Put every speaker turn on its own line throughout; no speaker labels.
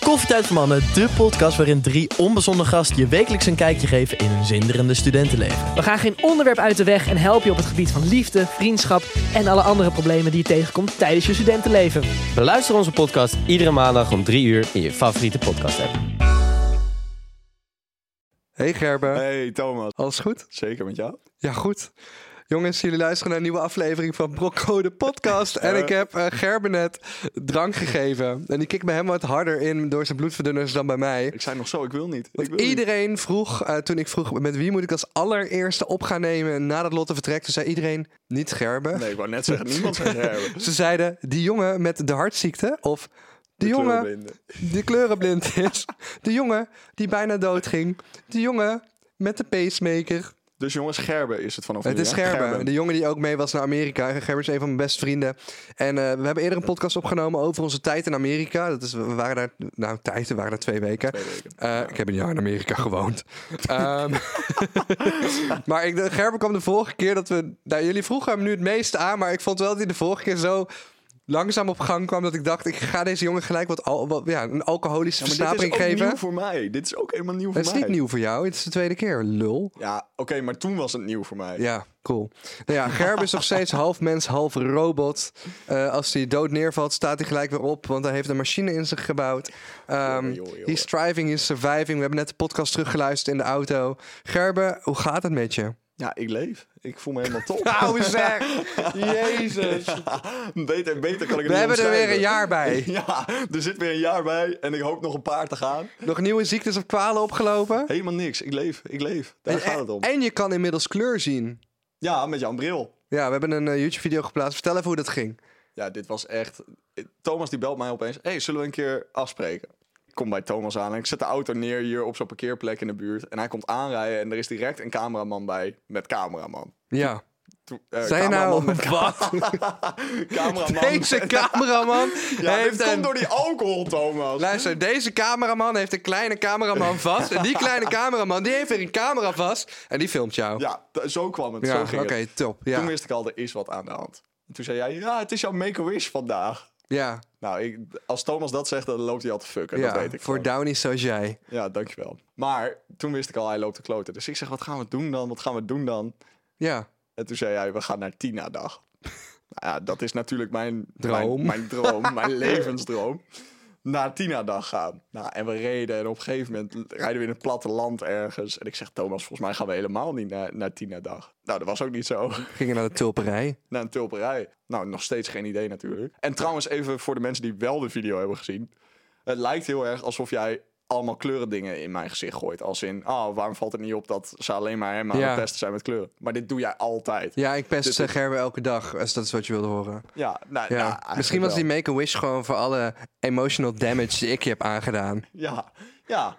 Koffietijd voor Mannen, de podcast waarin drie onbezonnen gasten je wekelijks een kijkje geven in hun zinderende studentenleven.
We gaan geen onderwerp uit de weg en helpen je op het gebied van liefde, vriendschap en alle andere problemen die je tegenkomt tijdens je studentenleven.
Beluister onze podcast iedere maandag om 3 uur in je favoriete podcast app.
Hey Gerber,
Hey Thomas,
alles goed?
zeker met jou?
Ja, goed. Jongens, jullie luisteren naar een nieuwe aflevering van Brocco de podcast. En ik heb eh, Gerber net drank gegeven. En die kikt me hem wat harder in door zijn bloedverdunners dan bij mij.
Ik zei nog zo, ik wil niet. Ik wil niet.
Iedereen vroeg, eh, toen ik vroeg met wie moet ik als allereerste op gaan nemen nadat Lotte vertrekt, toen zei iedereen niet Gerber.
Nee, ik wou net zeggen, niemand zegt hebben.
Ze zeiden die jongen met de hartziekte of die jongen die kleurenblind is. De jongen die bijna dood ging. De jongen met de pacemaker.
Dus jongens, Gerben is het vanaf
Het
nu,
is
hè?
Gerben, de jongen die ook mee was naar Amerika. En Gerben is een van mijn beste vrienden. En eh, we hebben eerder een podcast opgenomen over onze tijd in Amerika. Dat is, we waren daar, nou tijd, we waren daar twee weken.
Twee weken,
Eh, Ik heb een jaar in Amerika gewoond. Ehm, maar ik, de- Gerben kwam de vorige keer dat we... Nou, jullie vroegen hem nu het meeste aan, maar ik vond wel dat hij de vorige keer zo langzaam op gang kwam dat ik dacht, ik ga deze jongen gelijk wat, al, wat- ja, een alcoholische
Ja, maar dit is
versnapering
ook
geven.
nieuw voor mij. Dit is ook helemaal nieuw voor
Het is
mij.
niet nieuw voor jou, het is de tweede keer, lul.
Ja, oké, maar toen was het nieuw voor mij.
Ja, cool. Nou ja, Gerb is nog steeds half mens, half robot. Eh, als hij dood neervalt, staat hij gelijk weer op, want hij heeft een machine in zich gebouwd. Ehm
Jongen, jongen, jongen.
he's striving, he's surviving. We hebben net de podcast teruggeluisterd in de auto. Gerbe, hoe gaat het met je?
Ja, ik leef. Ik voel me helemaal top.
Nou zeg! Jezus!
beter en beter kan ik het
We hebben er weer een
omschrijven.
jaar bij.
Ja, er zit weer een jaar bij en ik hoop nog een paar te gaan.
Nog nieuwe ziektes of kwalen opgelopen.
Helemaal niks. Ik leef, ik leef. Daar
En,
gaat het om.
en je kan inmiddels kleur zien.
Ja, met jouw bril.
Ja, we hebben een eh, YouTube-video geplaatst. Vertel even hoe dat ging.
Ja, dit was echt... Thomas die belt mij opeens. hey, zullen we een keer afspreken? Ik kom bij Thomas aan en ik zet de auto neer hier op zo'n parkeerplek in de buurt. En hij komt aanrijden en er is direct een cameraman bij met cameraman.
Ja.
Toen- eh,
Zijn nou...
cameraman met
Wat?
cameraman.
Deze cameraman
ja, dit
heeft een
komt door die alcohol, Thomas.
Luister, deze cameraman heeft een kleine cameraman vast. En die kleine cameraman, die heeft weer een camera vast. En die filmt jou.
Ja, t- zo kwam het.
Ja,
zo
oké,
ging het.
top. Ja.
Toen wist ik al, er is wat aan de hand. En toen zei jij, ja, het is jouw make-a-wish vandaag.
ja,
Nou, ik, als Thomas dat zegt, dan loopt hij al te fucken.
ja.
dat weet ik
voor
gewoon.
Downey zoals jij.
Ja, dankjewel. Maar toen wist ik al, hij loopt te kloten. Dus ik zeg, wat gaan we doen dan? Wat gaan we doen dan?
Ja,
En toen zei hij, we gaan naar Tina-dag. nou ja, dat is natuurlijk mijn
Droom.
Mijn, mijn droom, mijn levensdroom. Naar Tina-dag gaan. Nou, en we reden en op een gegeven moment rijden we in het platteland ergens. En ik zeg, Thomas, volgens mij gaan we helemaal niet naar, naar Tina-dag. Nou, dat was ook niet zo.
gingen naar de tulperij.
naar een tulperij. Nou, nog steeds geen idee natuurlijk. En trouwens, even voor de mensen die wel de video hebben gezien. Het lijkt heel erg alsof jij allemaal kleurendingen in mijn gezicht gooit. Als in, oh, waarom valt het niet op dat ze alleen maar hem aan
Ja.
het testen zijn met kleuren? Maar dit doe jij altijd.
Ja, ik pest
Dit
eh,
is-
Gerben elke dag, als dat is wat je wilde horen.
Ja,
Ja.
nou, nou, eigenlijk
Misschien was
wel.
die make-a-wish gewoon voor alle emotional damage die ik je heb aangedaan.
Ja, ja.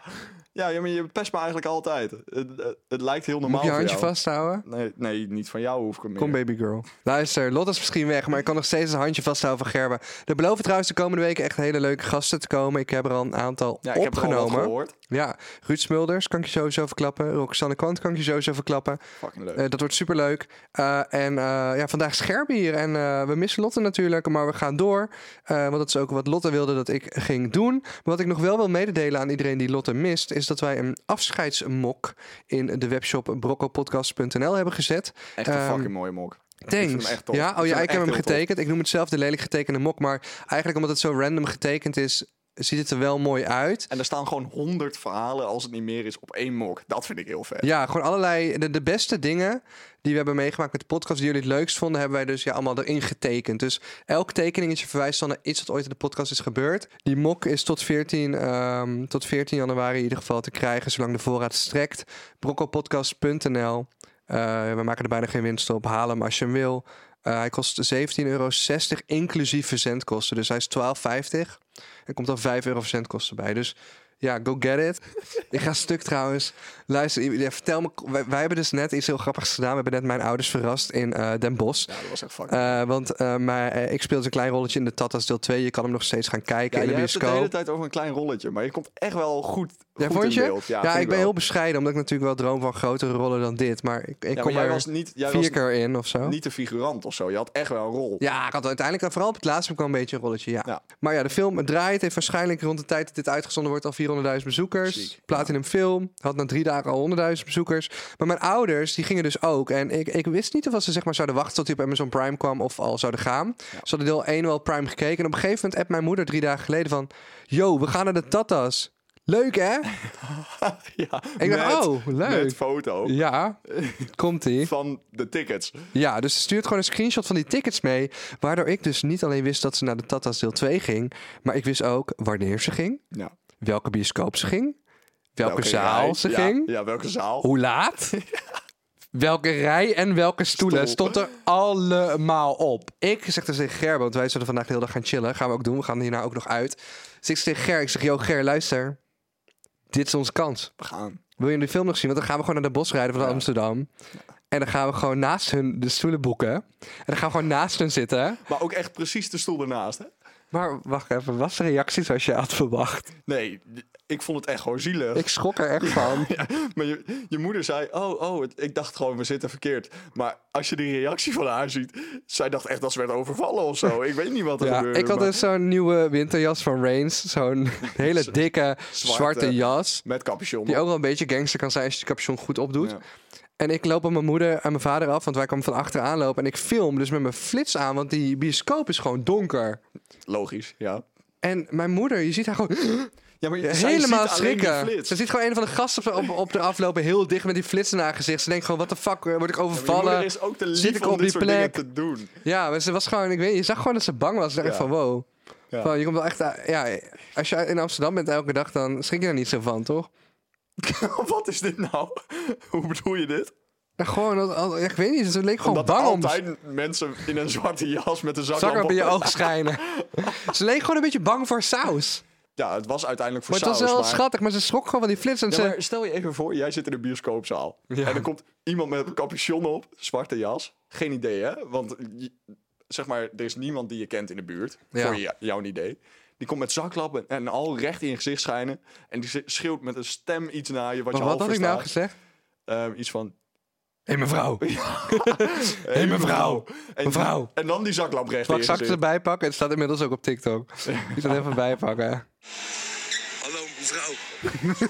Ja, ja, maar je pest me eigenlijk altijd. Het, het, het lijkt heel normaal
Moet je
voor
handje
jou.
vasthouden?
Nee, nee, niet van jou hoef ik hem
Kom
meer.
baby girl. Luister, Lotte is misschien weg, maar ik kan nog steeds een handje vasthouden van Gerben. Er beloven trouwens de komende weken echt hele leuke gasten te komen. Ik heb er al een aantal
Ja, ik heb het al
opgenomen.
wat gehoord.
Ja, Ruud Smulders kan ik je sowieso verklappen. Roxanne Kwant kan ik je sowieso verklappen.
Fucking leuk.
Eh, dat wordt superleuk. Eh en eh, ja, vandaag Scherben hier. En eh, we missen Lotte natuurlijk, maar we gaan door. Eh, want dat is ook wat Lotte wilde dat ik ging doen. Maar wat ik nog wel wil mededelen aan iedereen die Lotte mist... is dat wij een afscheidsmok in de webshop broccopodcast.nl hebben gezet.
echt een
ehm,
fucking mooie mok. Ik vind
Thanks.
hem echt tof.
Ja,
Ik
oh
vind
ja,
hem
ik heb
echt
hem
heel tof.
getekend. Ik noem het zelf de lelijk getekende mok. Maar eigenlijk omdat het zo random getekend is... ziet het er wel mooi uit.
En er staan gewoon honderd verhalen als het niet meer is op één mok. Dat vind ik heel vet.
Ja, gewoon allerlei. De, de beste dingen die we hebben meegemaakt met de podcast, die jullie het leukst vonden, hebben wij dus ja, allemaal erin getekend. Dus elk tekeningetje verwijst dan naar iets dat ooit in de podcast is gebeurd. Die mok is tot 14, ehm, tot 14 januari in ieder geval te krijgen, zolang de voorraad strekt. Broccopodcast.nl. Eh, we maken er bijna geen winst op. Haal hem als je hem wil. Eh, hij kost 17,60 euro inclusief verzendkosten. Dus hij is 12,50. Er komt dan 5 euro verzendkosten bij. Dus Ja, go get it. Ik ga stuk trouwens. Luister, i- ja, vertel me. Wij, wij hebben dus net iets heel grappigs gedaan. We hebben net mijn ouders verrast in eh, Den Bosch.
Ja, dat was echt fucking...
Eh, want eh, maar, eh, ik speelde een klein rolletje in de Tatas deel 2. Je kan hem nog steeds gaan kijken
ja,
in de
jij hebt het de hele
bioscoop.
tijd over een klein rolletje, maar je komt echt wel goed,
Ja,
goed
vond
in
je?
beeld.
Ja,
vind
ik ben
wel.
heel bescheiden, omdat ik natuurlijk wel droom van grotere rollen dan dit. Maar ik, ik
Ja, maar
kom
jij
er
was niet, jij
vier
was
keer in of zo.
niet de figurant of zo. Je had echt wel een rol.
Ja, ik had uiteindelijk, eh, vooral op het laatste heb ik wel een beetje een rolletje, ja.
Ja.
Maar ja, de film draait, heeft waarschijnlijk rond de tijd dat dit uitgezonden wordt al 400.000 bezoekers.
Ziek,
Platinum film, had na drie dagen al 100.000 bezoekers. Maar mijn ouders, die gingen dus ook. En ik, ik wist niet of ze zeg maar zouden wachten tot hij op Amazon Prime kwam of al zouden gaan. Ze hadden deel 1 wel Prime gekeken. En op een gegeven moment appt mijn moeder drie dagen geleden van... Yo, we gaan naar de Tatas. Leuk, hè?
Ja,
En ik dacht, oh,
Met
leuk.
foto
Ja, komt-ie.
van de tickets.
Ja, dus ze stuurt gewoon een screenshot van die tickets mee. Waardoor ik dus niet alleen wist dat ze naar de Tata's deel 2 ging. Maar ik wist ook wanneer ze ging.
Ja.
Welke bioscoop ze ging. Welke, zaal
rij?
ze
Ja,
ging.
Ja, welke zaal.
Hoe laat. welke rij en welke stoelen.
Stoel.
Stond er allemaal op. Ik zeg dus tegen Ger, want wij zullen vandaag de hele dag gaan chillen. Gaan we ook doen. We gaan hierna ook nog uit. Dus ik zeg tegen Ger, ik zeg, yo Ger, luister. Dit is onze kans.
We gaan.
Wil je de film nog zien? Want dan gaan we gewoon naar de bos rijden van Amsterdam. En dan gaan we gewoon naast hun de stoelen boeken. En dan gaan we gewoon naast hun zitten.
Maar ook echt precies de stoel ernaast, hè?
Maar wacht even, was de reactie zoals je had verwacht?
Nee, d- ik vond het echt gewoon zielig.
Ik schrok er echt van.
Ja, maar je, je moeder zei, oh, oh, het- ik dacht gewoon, we zitten verkeerd. Maar als je die reactie van haar ziet, zij dacht echt dat ze werd overvallen of zo. Ik weet niet wat er
Ja,
gebeurde.
ik had
maar
dus zo'n nieuwe winterjas van Reigns. Zo'n hele dikke zwarte
Zwarte.
jas.
Met capuchon.
Die ook wel een beetje gangster kan zijn als je de capuchon goed opdoet.
Ja.
En ik loop op mijn moeder en mijn vader af, want wij kwamen van achteraan lopen. En ik film dus met mijn flits aan, want die bioscoop is gewoon donker.
Logisch, ja.
En mijn moeder, je ziet haar gewoon...
Ja, maar
Ja, helemaal schrikken. Ze ziet gewoon een van de gasten op, op, op de aflopen heel dicht met die flits in haar gezicht. Ze denkt gewoon, wat de fuck, eh, word ik overvallen? Ja,
is ook te
Zit
lief
ik
om
op
dit
die
soort dingen
plek?
te doen.
maar ze was gewoon, ik weet, je zag gewoon dat ze bang was. Ze dacht
Ja.
echt van, wow.
Ja.
Van, je komt wel echt, uit- ja, als je in Amsterdam bent elke dag, dan schrik je daar niet zo van, toch?
wat is dit nou? Hoe bedoel je dit?
Ja, gewoon, dat- al- ja, ik weet niet, ze leek gewoon
Omdat er
bang om.
altijd mensen in een zwarte jas met een zaklamp
Zakken
op-
bij je oog schijnen. ze leek gewoon een beetje bang voor saus.
Ja, het was uiteindelijk voor
Maar het was
saus,
wel
maar...
schattig, maar ze schrok gewoon van die flits. En
Ja,
ze,
maar stel je even voor, jij zit in een bioscoopzaal. En er komt iemand met een capuchon op, zwarte jas. Geen idee, hè? Want je- zeg maar, er is niemand die je kent in de buurt.
Ja.
Voor je- jouw idee. Die komt met zaklappen en al recht in je gezicht schijnen. En die zi- schreeuwt met een stem iets naar je wat
maar
je
wat
al
had ik
verstaat.
nou gezegd?
Ehm, iets van...
Hé mevrouw,
Hé,
mevrouw,
En,
mevrouw.
En dan die zaklamp recht in
pak
je
zak
gezicht.
erbij pakken. Het staat inmiddels ook op TikTok. Ik zal het even bijpakken.
Hallo mevrouw.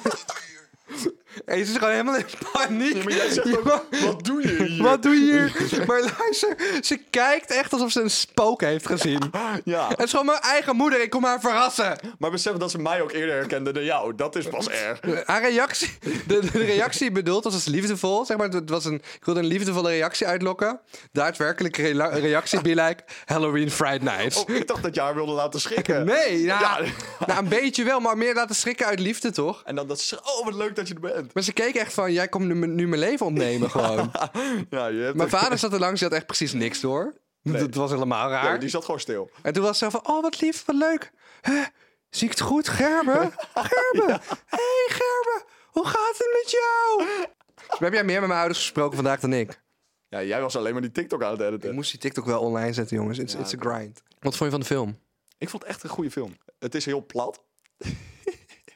Hey, ze is gewoon helemaal in paniek.
Maar jij zegt ook,
Wat-
wat doe je hier?
Wat doe je hier? Maar luister, ze kijkt echt alsof ze een spook heeft gezien.
Ja,
Het is gewoon mijn eigen moeder, ik kom haar verrassen.
maar besef dat ze mij ook eerder herkende dan jou. Dat is pas erg.
Haar reactie, de, de reactie bedoeld was als liefdevol. Zeg maar, het was een, ik wilde een liefdevolle reactie uitlokken. Daadwerkelijke rela- reactie, be like Halloween Friday Nights.
Oh, ik dacht dat je haar wilde laten schrikken.
Nee, ja,
Ja.
Nou, een beetje wel, maar meer laten schrikken uit liefde, toch?
En dan dat ze, oh wat leuk dat je er bent.
Maar ze keek echt van, jij komt nu, mijn- nu mijn leven ontnemen gewoon.
Ja, je hebt
Mijn vader zat er langs, die had echt precies niks door. Dat was helemaal raar.
Ja, die zat gewoon stil.
En toen was ze van, oh wat lief, wat leuk. Hè, zie ik het goed? Gerben? Gerben? Hé hey, Gerben, hoe gaat het met jou? Dus heb jij meer met mijn ouders gesproken vandaag dan ik?
Ja, jij was alleen maar die TikTok aan het editen.
Ik
Ik,
moest die TikTok wel online zetten, jongens. It's, it's a grind. Wat vond je van de film?
vond het echt een goede film. Het is heel plat.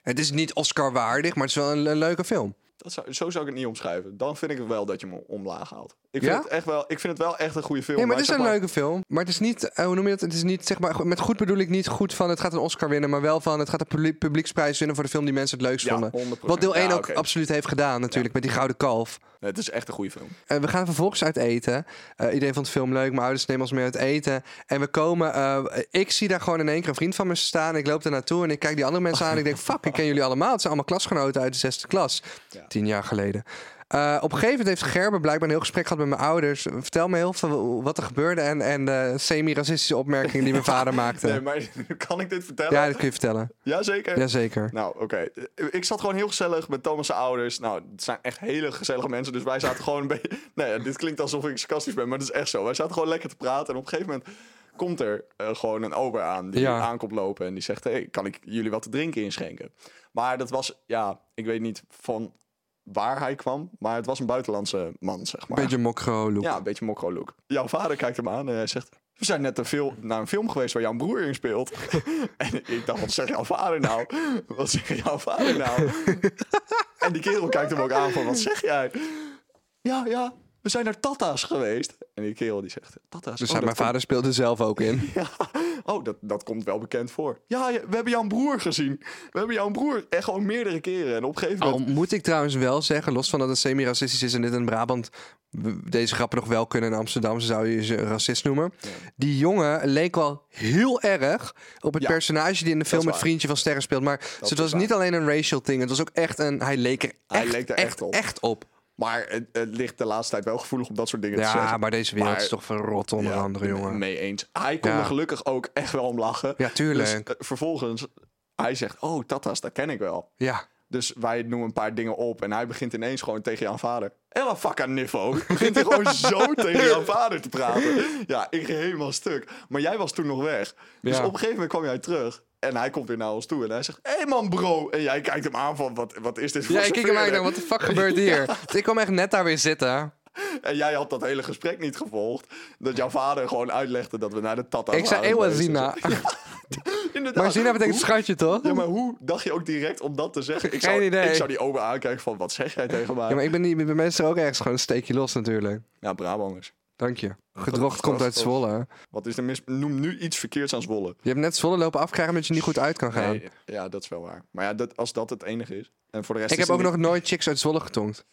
Het is niet Oscar waardig, maar het is wel een, een leuke film.
Dat zou, zo zou ik het niet omschrijven. Dan vind ik wel dat je hem omlaag haalt. Ik vind,
Ja?
het, echt wel, ik vind het wel echt een goede film.
Nee, maar het is
zeg
een leuke film. Maar het is niet, eh, hoe noem je dat? Het is niet, zeg maar, met goed bedoel ik niet goed van het gaat een Oscar winnen, maar wel van het gaat de publiek- publieksprijs winnen voor de film die mensen het leukst
Ja,
vonden.
100%.
Wat deel 1
Ja,
ook
oké.
absoluut heeft gedaan natuurlijk, met die Gouden Kalf.
Nee, Het is echt een goede film.
En Eh, we gaan vervolgens uit eten. Eh, iedereen vond de film leuk. Mijn ouders nemen ons mee uit eten. En we komen. eh, ik zie daar gewoon in één keer een vriend van me staan. Ik loop daar naartoe en ik kijk die andere mensen aan. En ik denk: Fuck, ik ken jullie allemaal. Het zijn allemaal klasgenoten uit de zesde klas. Tien jaar geleden. Eh, op een gegeven moment heeft Gerben blijkbaar een heel gesprek gehad met mijn ouders. Vertel me heel veel wat er gebeurde. En, en de semi-racistische opmerkingen die mijn vader maakte.
Nee, maar kan ik dit vertellen?
Ja, dat kun je vertellen.
Jazeker.
Jazeker.
Nou, oké. Ik zat gewoon heel gezellig met Thomas' ouders. Nou, het zijn echt hele gezellige mensen. Dus wij zaten gewoon een beetje... Nou ja, dit klinkt alsof ik sarcastisch ben, maar dat is echt zo. Wij zaten gewoon lekker te praten. En op een gegeven moment komt er eh, gewoon een ober aan die
Ja.
aankomt lopen en die zegt, hey, kan ik jullie wat te drinken inschenken? Maar dat was, ja, ik weet niet van waar hij kwam, maar het was een buitenlandse man, zeg maar.
Beetje mokro look.
Ja, een beetje mokro look. Jouw vader kijkt hem aan en hij zegt... We zijn net een fil- naar een film geweest waar jouw broer in speelt. en ik dacht, wat zegt jouw vader nou? Wat zegt jouw vader nou? en die kerel kijkt hem ook aan van, wat zeg jij? Ja, ja, we zijn naar Tata's geweest. En die kerel die zegt, Tata's?
Dus
Oh,
hij-
dat
mijn vader speelde zelf ook in.
Oh, dat, dat komt wel bekend voor. Ja, ja, we hebben jouw broer gezien. We hebben jouw broer echt gewoon meerdere keren. En op een gegeven
Al
moment...
moet ik trouwens wel zeggen, los van dat het semi-racistisch is en dit in Brabant w- deze grappen nog wel kunnen in Amsterdam, ze zou je ze een racist noemen. Die jongen leek wel heel erg op het
Ja,
personage die in de film
is
het
waar.
vriendje van Sterren speelt. Maar dus het
is
was
waar.
niet alleen een racial thing, het was ook echt een. Hij leek er echt,
Hij leek er echt op.
Echt op.
Maar het, het ligt de laatste tijd wel gevoelig om dat soort dingen te zeggen.
Ja, maar deze wereld
Maar-
is toch verrot onder
Ja,
andere, jongen.
Mee eens. Hij kon
Ja.
er gelukkig ook echt wel om lachen.
Ja, tuurlijk.
Dus, eh, vervolgens, hij zegt, oh, Tata's, dat ken ik wel.
Ja.
Dus wij noemen een paar dingen op en hij begint ineens gewoon tegen jouw vader. Ella fucking niffo. Begint hij gewoon zo tegen jouw vader te praten. Ja, ik ging helemaal stuk. Maar jij was toen nog weg. Dus
Ja.
op een gegeven moment kwam jij terug. En hij komt weer naar ons toe en hij zegt, hé hey man bro. En jij kijkt hem aan van, wat, wat is dit voor
Ja, ik kijk hem aan, ik
vervelende?"
denk, wat de fuck gebeurt hier? Ik kwam echt net daar weer zitten.
En jij had dat hele gesprek niet gevolgd. Dat jouw vader gewoon uitlegde dat we naar de Tata's
Ik zei,
waren
eeuw,
geweest en
Zina.
zo. Inderdaad.
Maar Zina betekent
Hoe-
schatje, toch?
Ja, maar hoe dacht je ook direct om dat te zeggen? Ik
Geen
zou,
idee.
Ik zou die ober aankijken van, wat zeg jij tegen mij?
Ja,
Ja,
maar ik ben niet bij mensen ook ergens gewoon een steekje los natuurlijk.
Brabanders.
Dank je. Gedrocht komt uit Zwolle. hè?
Wat is er mis? Noem nu iets verkeerds aan Zwolle.
Je hebt net Zwolle lopen afkrijgen omdat je niet goed uit kan gaan.
Nee, ja, dat is wel waar. Maar ja, dat, als dat het enige is. En voor de rest
ik
is
heb ook
er
nog nooit chicks uit Zwolle getonkt.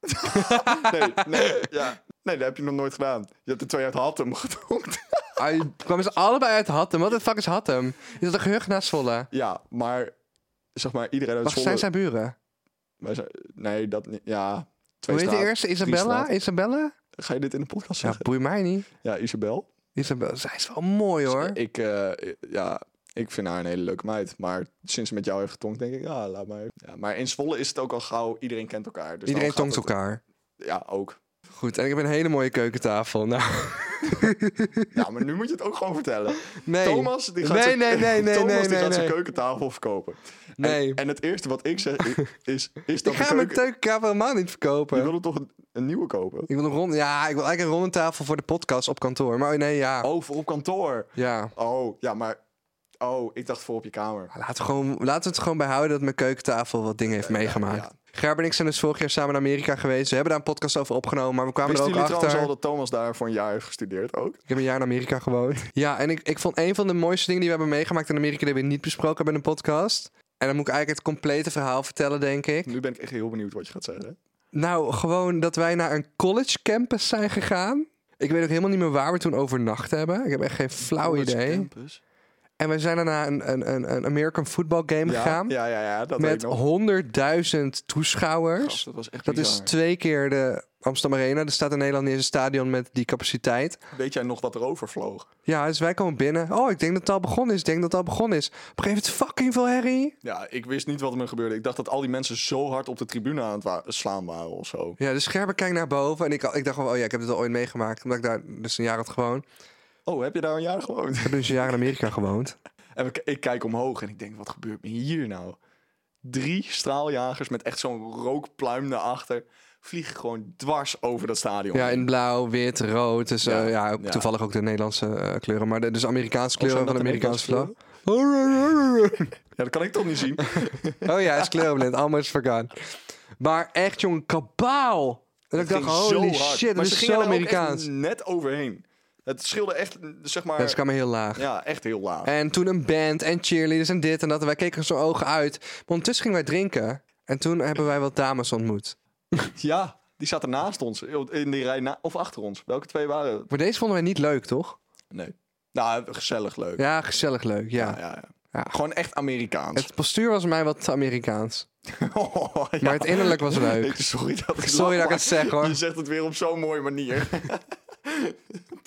niet- Nee, nee, ja. nee, dat heb je nog nooit gedaan. Je hebt er twee uit Hattem gedronken.
Ah, je- kwamen ze allebei uit Hattem. Wat de fuck is Hattem? Is dat een gehucht naast Zwolle?
Ja, maar zeg maar, iedereen uit
Wacht,
Zwolle...
zijn zijn buren?
Wij zijn- Nee, dat niet. Ja, twee
Hoe heet de
straat,
eerste?
drie
Isabella?
straat.
Isabella?
Ga je dit in de podcast
Ja,
zeggen?
boei mij niet.
Ja, Isabel.
Isabella, zij is wel mooi hoor.
Ik, eh, ja, ik vind haar een hele leuke meid. Maar sinds ze met jou heeft getonkt, denk ik, ja, laat maar even. Ja, maar in Zwolle is het ook al gauw, iedereen kent elkaar. Dus
Iedereen
dan gaat
tonkt elkaar.
het- Ja, ook.
Goed, en ik heb een hele mooie keukentafel. Nou,
Ja, maar nu moet je het ook gewoon vertellen.
nee.
Thomas, die gaat
Nee,
zijn-
nee, nee, nee,
Thomas,
nee,
die
nee,
gaat zijn
nee.
keukentafel verkopen. En-
Nee.
En, het eerste wat ik zeg i- is, is dat
Ik
de
ga mijn
keuken...
keukentafel helemaal niet
Je
verkopen.
wilde toch een, een nieuwe kopen?
Ik wil een rond, ja, ik wil eigenlijk een ronde tafel voor de podcast op kantoor. Maar oh, nee, ja.
Oh, voor op kantoor.
Ja.
Oh, ja, maar... Oh, ik dacht voor op je kamer.
Laten we, gewoon, laten we het gewoon bijhouden dat mijn keukentafel wat dingen heeft meegemaakt.
ja.
Gerber en ik zijn dus vorig jaar samen naar Amerika geweest. We hebben daar een podcast over opgenomen, maar we kwamen
Wisten
er ook
jullie
achter.
trouwens al dat Thomas daar voor een jaar heeft gestudeerd ook?
Ik heb een jaar in Amerika gewoond. Ja, en ik, ik vond een van de mooiste dingen die we hebben meegemaakt in Amerika... die we niet besproken hebben in de podcast. En dan moet ik eigenlijk het complete verhaal vertellen, denk ik.
Nu ben ik echt heel benieuwd wat je gaat zeggen.
Nou, gewoon dat wij naar een college campus zijn gegaan. Ik weet ook helemaal niet meer waar we toen overnacht hebben. Ik heb echt geen flauw idee. En we zijn daarna een, een, een, een American football game
Ja,
gegaan.
ja, ja, ja, dat weet
met
ik nog.
honderdduizend toeschouwers.
Gast, dat was echt
dat is
bizar.
twee keer de Amsterdam Arena. Er staat in Nederland niet eens een stadion met die capaciteit.
Weet jij nog dat er overvloog?
Ja, dus wij komen binnen. Oh, ik denk dat het al begonnen is. Ik denk dat het al begonnen is. Op een gegeven moment fucking veel herrie.
Ja, ik wist niet wat er me gebeurde. Ik dacht dat al die mensen zo hard op de tribune aan het wa- slaan waren of zo.
Ja, dus Gerber kijkt naar boven. En ik, ik dacht gewoon, oh ja, ik heb dit al ooit meegemaakt. Omdat ik daar dus een jaar had gewoond. Ik
Oh, heb je daar een jaar gewoond?
heb dus een jaar in Amerika gewoond.
En ik, ik kijk omhoog en ik denk, wat gebeurt me hier nou? Drie straaljagers met echt zo'n rookpluim daarachter vliegen gewoon dwars over dat stadion.
Ja, in blauw, wit, rood. Dus eh,
Ja,
ja, ook
ja.
toevallig ook de Nederlandse eh, kleuren. Maar de, dus Amerikaanse
Of zijn
kleuren van de
dat de
Amerikaanse vlag.
Nederlandse Ja, dat kan ik toch niet zien.
Oh ja, hij is kleurenblind. Almost vergaan. Maar echt, jongen, kabaal. En ik dacht,
ging
holy
zo hard.
shit,
Maar
dat
ze
is
gingen
zo
er ook echt
Amerikaans.
net overheen. Het scheelde echt, zeg maar...
Ja, ze kwamen heel laag.
Ja, echt heel laag.
En toen een band en cheerleaders en dit en dat. En wij keken zo ogen uit. Maar ondertussen gingen wij drinken. En toen hebben wij wat dames ontmoet.
Ja, die zaten naast ons. In die rij na- of achter ons. Welke twee waren het?
Maar deze vonden wij niet leuk, toch?
Nee. Nou, gezellig leuk.
Ja, gezellig leuk, ja.
Ja, ja, ja.
Ja.
Gewoon echt Amerikaans.
Het postuur was mij wat te Amerikaans.
Oh, ja.
Maar het innerlijk was leuk.
Sorry dat ik
Sorry dat ik
lach,
het zeg,
maar
hoor.
Je zegt het weer op zo'n mooie manier.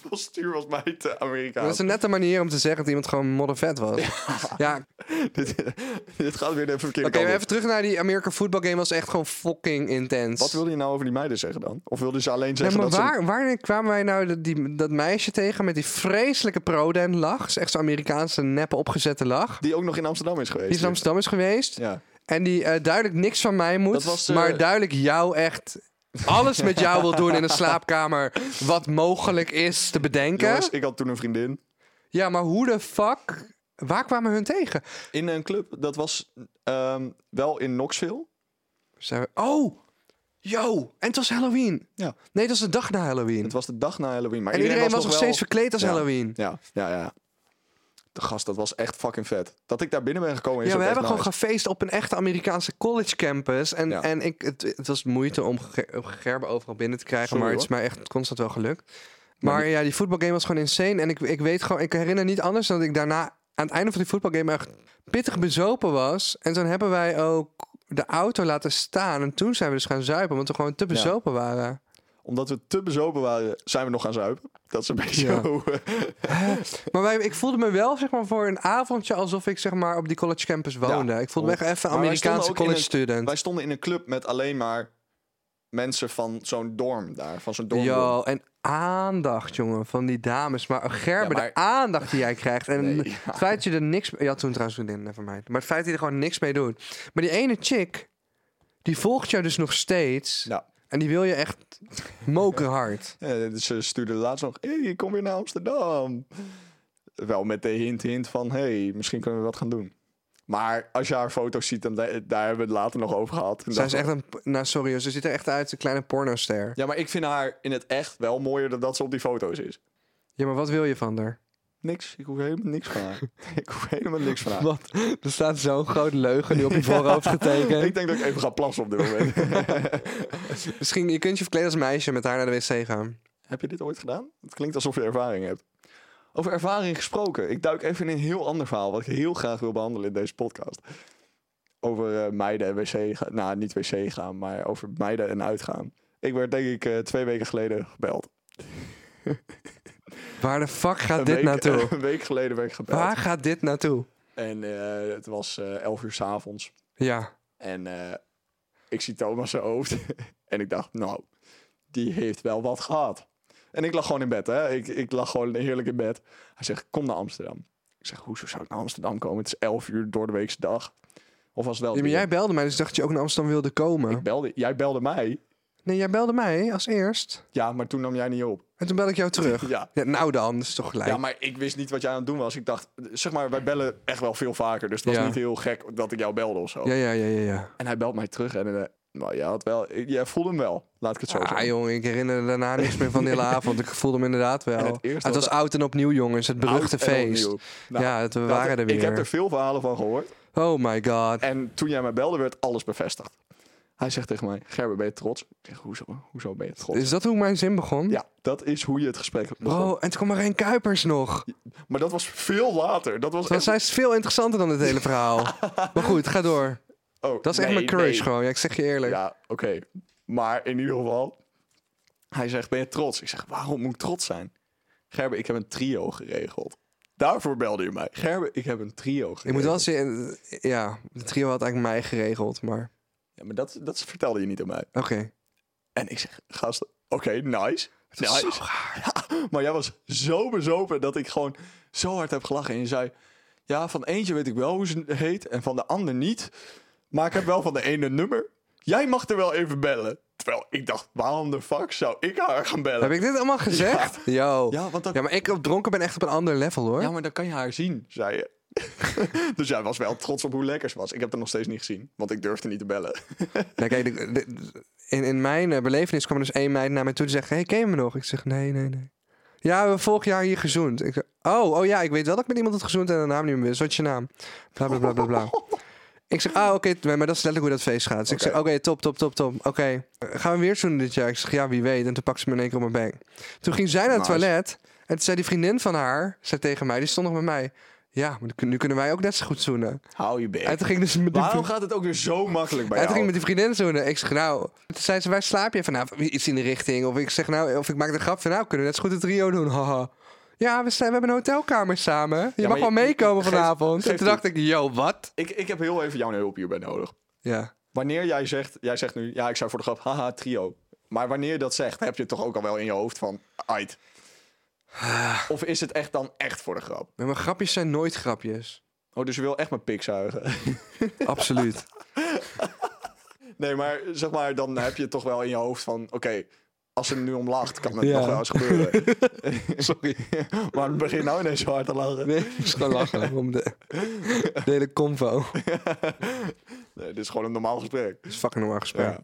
postuur was mij te Amerikaans.
Dat is een nette manier om te zeggen dat iemand gewoon moddervet was. Ja,
dit, dit gaat weer de verkeerde
Oké,
kant
maar
op.
even terug naar die American Football Game. was echt gewoon fucking intens.
Wat wilde je nou over die meiden zeggen dan? Of wilde ze alleen
Nee,
zeggen
maar
dat
waar, waar kwamen wij nou dat, die, dat meisje tegen met die vreselijke pro-den lach? Is Echt zo'n Amerikaanse neppe opgezette lach.
ze... Die ook nog in Amsterdam is geweest.
Die is in Amsterdam is geweest.
Ja.
En die eh, duidelijk niks van mij moet.
Dat was, eh,
Maar duidelijk jou echt alles met jou wil doen in een slaapkamer. Wat mogelijk is te bedenken.
Jongens, ik had toen een vriendin.
Ja, maar hoe de fuck... Waar kwamen hun tegen?
In een club, dat was ehm, wel in Knoxville.
Zijn we- Oh! Yo! En het was Halloween.
Ja.
Nee, het was de dag na Halloween.
Het was de dag na Halloween. Maar
En iedereen, was nog
wel-
steeds verkleed als
Ja.
Halloween.
Ja, ja, ja. De gast, dat was echt fucking vet. Dat ik daar binnen ben gekomen is
Ja, we
ook
hebben
echt
gewoon
nice.
gefeest op een echte Amerikaanse college campus. En,
Ja.
en ik, het, het was moeite om Ge- Gerben overal binnen te krijgen.
Sorry,
maar het
hoor.
is mij echt constant wel gelukt. Maar, ja, die voetbalgame was gewoon insane. En ik, ik weet gewoon, ik herinner niet anders dan dat ik daarna aan het einde van die voetbalgame echt pittig bezopen was. En toen hebben wij ook de auto laten staan. En toen zijn we dus gaan zuipen, omdat we gewoon te bezopen waren.
Omdat we te bezopen waren, zijn we nog gaan zuipen. Dat is een beetje
Ja.
hoe... eh,
Maar wij, ik voelde me wel zeg maar, voor een avondje alsof ik zeg maar, op die college campus woonde. ik voelde me echt even
Maar wij stonden
Amerikaanse
ook in
college
een-
student.
Wij stonden in een club met alleen maar mensen van zo'n dorm daar. Van zo'n dorm.
Yo, en aandacht, jongen, van die dames. Maar Gerben,
Ja, maar-
de aandacht die jij krijgt. En
Nee,
het feit dat je er niks... Je had toen trouwens vriendin, nevermind. Maar het feit dat je er gewoon niks mee doet. Maar die ene chick, die volgt jou dus nog steeds.
Ja.
En die wil je echt mokerhard.
Ja, dus ze stuurde laatst nog, hey, ik kom weer naar Amsterdam. Wel met de hint, hint van, hey, misschien kunnen we wat gaan doen. Maar als je haar foto's ziet, dan, daar hebben we het later nog over gehad. Toen
Zij
dacht
is
ik,
echt een... Nou, sorry, hoor, ze ziet er echt uit als een kleine pornoster. Ja.
Ja, maar ik vind haar in het echt wel mooier dan dat ze op die foto's is.
maar wat wil je van haar?
Niks, ik hoef helemaal niks van haar. ik hoef helemaal niks van haar.
Want er staat zo'n grote leugen nu op je voorhoofd getekend.
Ik denk dat ik even ga plassen op dit moment.
Misschien, je kunt je verkleden als meisje en met haar naar de wc gaan.
Heb je dit ooit gedaan? Het klinkt alsof je ervaring hebt. Over ervaring gesproken. Ik duik even in een heel ander verhaal. Wat ik heel graag wil behandelen in deze podcast. Over eh, meiden en wc gaan. Nou, niet wc gaan, maar over meiden en uitgaan. Ik werd denk ik eh, twee weken geleden gebeld.
Waar de fuck gaat
Een
dit
week,
naartoe?
Een week geleden werd ik gebeld.
Waar gaat dit naartoe?
En eh, het was eh, elf uur s'avonds.
Ja.
En eh, ik zie Thomas zijn hoofd. en ik dacht, nou, die heeft wel wat gehad. En ik lag gewoon in bed, hè. Ik, ik lag gewoon heerlijk in bed. Hij zegt, kom naar Amsterdam. Ik zeg, hoezo zou ik naar Amsterdam komen? Het is elf uur door de weekse dag. Of was het wel...
Ja, maar
drie
jij
uur?
belde mij, dus ik dacht dat je ook naar Amsterdam wilde komen.
Ik belde, jij belde mij.
Nee, jij belde mij als eerst.
Ja, maar toen nam jij niet op.
En toen belde ik jou terug.
Ja.
nou dan, dat is toch gelijk.
Ja, maar ik wist niet wat jij aan het doen was. Ik dacht, zeg maar, wij bellen echt wel veel vaker. Dus het was
Ja.
niet heel gek dat ik jou belde of zo.
ja, ja, ja, ja. ja.
En hij belt mij terug en... eh, nou, jij, had wel, jij voelde hem wel, laat ik het zo
Ah,
zeggen.
jongen, ik herinner me daarna niks meer van die hele avond. Ik voelde hem inderdaad wel.
En het
het,
eerste wat-
was oud en opnieuw, jongens. Het beruchte
Oud en
feest.
opnieuw. Nou,
ja, het, we
Dat-
waren er weer.
Ik heb er veel verhalen van gehoord.
Oh my god.
En toen jij mij belde, werd alles bevestigd. Hij zegt tegen mij, Gerber, ben je trots? Ik zeg, hoezo, hoezo ben je trots?
Is dat hoe mijn zin begon?
Ja, dat is hoe je het gesprek begon.
Bro, en toen kwam er een Kuipers nog.
Maar dat was veel later. Dat was
Dat
echt...
zij is veel interessanter dan dit hele verhaal. maar goed, ga door.
Oh,
Dat is echt
nee,
mijn crush
nee.
gewoon. Ja, ik zeg je eerlijk.
Ja, oké. Maar in ieder geval, hij zegt, ben je trots? Ik zeg, waarom moet ik trots zijn? Gerber, ik heb een trio geregeld. Daarvoor belde je mij. Gerber, ik heb een trio geregeld.
ik moet wel zeggen, ja, de trio had eigenlijk mij geregeld, maar
Ja, maar dat, dat vertelde je niet aan mij.
oké.
En ik zeg, gast, oké, nice. nice. Ja, maar jij was zo bezopen dat ik gewoon zo hard heb gelachen. En je zei, ja, van eentje weet ik wel hoe ze heet en van de ander niet. Maar ik heb wel van de ene nummer. Jij mag er wel even bellen. Terwijl ik dacht, waarom de fuck zou ik haar gaan bellen?
Heb ik dit allemaal gezegd? Yo.
Ja, want dan,
Ja, maar ik op dronken ben echt op een ander level hoor.
ja, maar dan kan je haar zien, zei je. dus jij was wel trots op hoe lekker ze was. Ik heb haar nog steeds niet gezien, want ik durfde niet te bellen.
Nou, kijk, de- de- in, in mijn eh, belevenis kwam er dus één meid naar mij toe die zegt: Hey, ken je me nog? Ik zeg: Nee, nee, nee. Ja, we hebben vorig jaar hier gezoend. Ik zeg, oh, oh ja, ik weet wel dat ik met iemand had gezoend en de naam niet meer wist. Wat is je naam? Bla bla bla bla bla. Ik zeg, ah, oké, nee, maar dat is letterlijk hoe dat feest gaat. Dus ik
Oké.
zeg, oké, top, top, top, top. Oké, Eh, gaan we weer zoenen dit jaar? Ik zeg, ja, wie weet. En toen pakte ze me in één keer op mijn bek. Toen ging zij naar het
Nice.
toilet. En toen zei die vriendin van haar, zei tegen mij, die stond nog met mij. Ja, maar nu kun- nu kunnen wij ook net zo goed zoenen.
Hou je bek.
En toen ging dus met die,
Waarom
vri-
gaat het ook weer zo makkelijk bij
en toen ging
jou?
ik met die vriendin zoenen. Ik zeg, nou... Toen zei ze, waar slaap je vanavond? Iets in de richting. Of ik zeg, nou... Of ik maak de grap van, nou, kunnen we net zo goed het trio doen. Haha. Ja, we, zijn, we hebben een hotelkamer samen. Je
maar
mag wel
je-
meekomen
geef-
vanavond.
geef
en toen
toe.
dacht ik, yo, wat?
Ik, ik heb heel even jouw hulp hierbij nodig.
Ja.
Wanneer jij zegt, jij zegt nu, ja, ik zou voor de grap, haha, trio. Maar wanneer je dat zegt, heb je het toch ook al wel in je hoofd van, uit. Of is het echt dan echt voor de grap?
Maar mijn grapjes zijn nooit grapjes.
Oh, dus je wil echt mijn pik zuigen.
Absoluut.
Nee, maar zeg maar, dan heb je het toch wel in je hoofd van... Oké, als ze nu om lacht, kan het
Ja.
nog wel eens gebeuren. Sorry. maar het begint nou ineens zo hard te lachen. Nee.
Nee, het is gewoon lachen. Om de, de hele convo. Het
dit is gewoon een normaal gesprek.
is fucking normaal gesprek.
Ja.